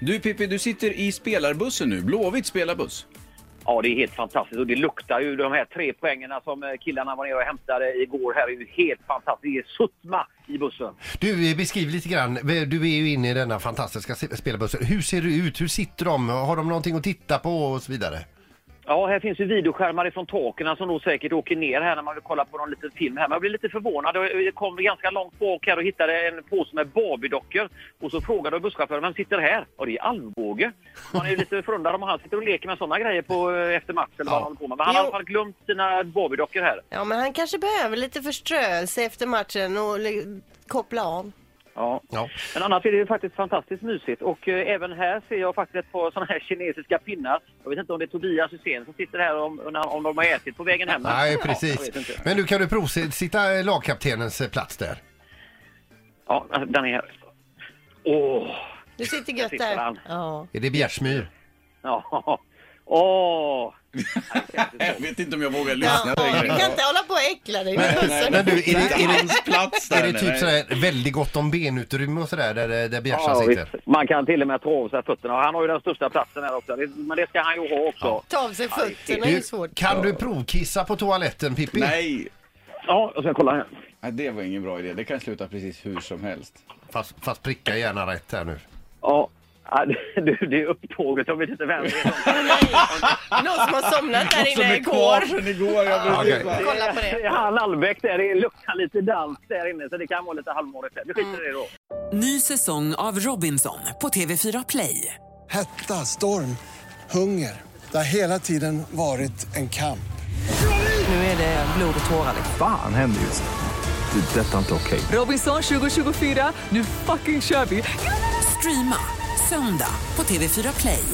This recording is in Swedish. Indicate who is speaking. Speaker 1: Du Pippi, du sitter i spelarbussen nu. Blåvitt spelarbuss.
Speaker 2: Ja, det är helt fantastiskt och det luktar ju de här tre poängerna som eh, killarna var nere och hämtade igår här. är ju helt fantastiskt. Det är suttma i bussen.
Speaker 3: Du, eh, beskriv lite grann. Du är ju inne i denna fantastiska se- spelbussen. Hur ser det ut? Hur sitter de? Har de någonting att titta på och så vidare?
Speaker 2: Ja, här finns ju videoskärmar ifrån taken som då säkert åker ner här när man vill kolla på någon liten film här. Men jag blev lite förvånad. Jag kom ganska långt bak här och hittade en påse med Barbie-dockor. Och så frågade jag busschauffören, vem sitter här? Och det är Alvbåge. Man är ju lite förundrad om han sitter och leker med sådana grejer på, eh, efter match eller vad han håller på med. Men han har i alla fall glömt sina Barbie-dockor här.
Speaker 4: Ja, men han kanske behöver lite förströelse efter matchen och le- koppla av.
Speaker 2: Ja.
Speaker 3: Ja.
Speaker 2: Men annars är det ju faktiskt fantastiskt mysigt. Och eh, även här ser jag faktiskt ett par sådana här kinesiska pinnar. Jag vet inte om det är Tobias Hysén som sitter här om, om, om de har ätit på vägen hem. Men-
Speaker 3: Nej,
Speaker 2: Ja, jag vet
Speaker 3: precis.
Speaker 2: inte.
Speaker 3: Men du, kan du provsitta eh, lagkaptenens eh, plats där?
Speaker 2: ja, den är här. Åh!
Speaker 4: Du sitter gött
Speaker 2: Sitter
Speaker 4: där.
Speaker 2: han.
Speaker 4: Ja.
Speaker 3: Är det Bjärsmyr?
Speaker 2: Ja. Åh!
Speaker 1: Jag vet inte om jag vågar
Speaker 4: Ja,
Speaker 1: lyssna
Speaker 4: du
Speaker 1: längre.
Speaker 4: kan inte hålla på och äckla dig med bussen.
Speaker 3: Men du, är det-
Speaker 1: Inte
Speaker 3: är det-
Speaker 1: hans plats där
Speaker 3: Är det
Speaker 1: nere.
Speaker 3: typ sådär väldigt gott om benutrymme och sådär där, eh, där Bjärsa
Speaker 2: Ja,
Speaker 3: sitter?
Speaker 2: visst. Man kan till och med ta av sig fötterna. Och Han har ju den största platsen här också. Det, men det ska han ju ha också. Ja,
Speaker 4: Ta av sig fötterna är
Speaker 3: Du,
Speaker 4: ju svårt.
Speaker 3: kan du provkissa på toaletten Pippi?
Speaker 1: Nej.
Speaker 2: jag ska kolla här.
Speaker 1: Nej, det var ingen bra idé. Det kan sluta precis hur som helst.
Speaker 3: Fast, fast pricka gärna rätt här nu.
Speaker 2: Ja. Ja, det- det, det är upptåget. Jag vet inte vem det är.
Speaker 4: Någon som har somnat där inne igår.
Speaker 1: sedan igår. Jag
Speaker 3: Okej.
Speaker 1: precis bara-
Speaker 4: Kolla
Speaker 2: Det
Speaker 4: på det.
Speaker 2: är han Albeck där, det luktar lite dans där inne så det kan vara lite halvmårigt där. Vi skiter i det då.
Speaker 5: Ny säsong av Robinson på TV4 Play.
Speaker 6: Hetta, storm, hunger. Det har hela tiden varit en kamp.
Speaker 5: Nu är det blod och tårar.
Speaker 7: Fan händer just nu. Det. är Detta är inte okej.
Speaker 5: Robinson 2024, nu fucking kör vi! Streama söndag på TV4 Play.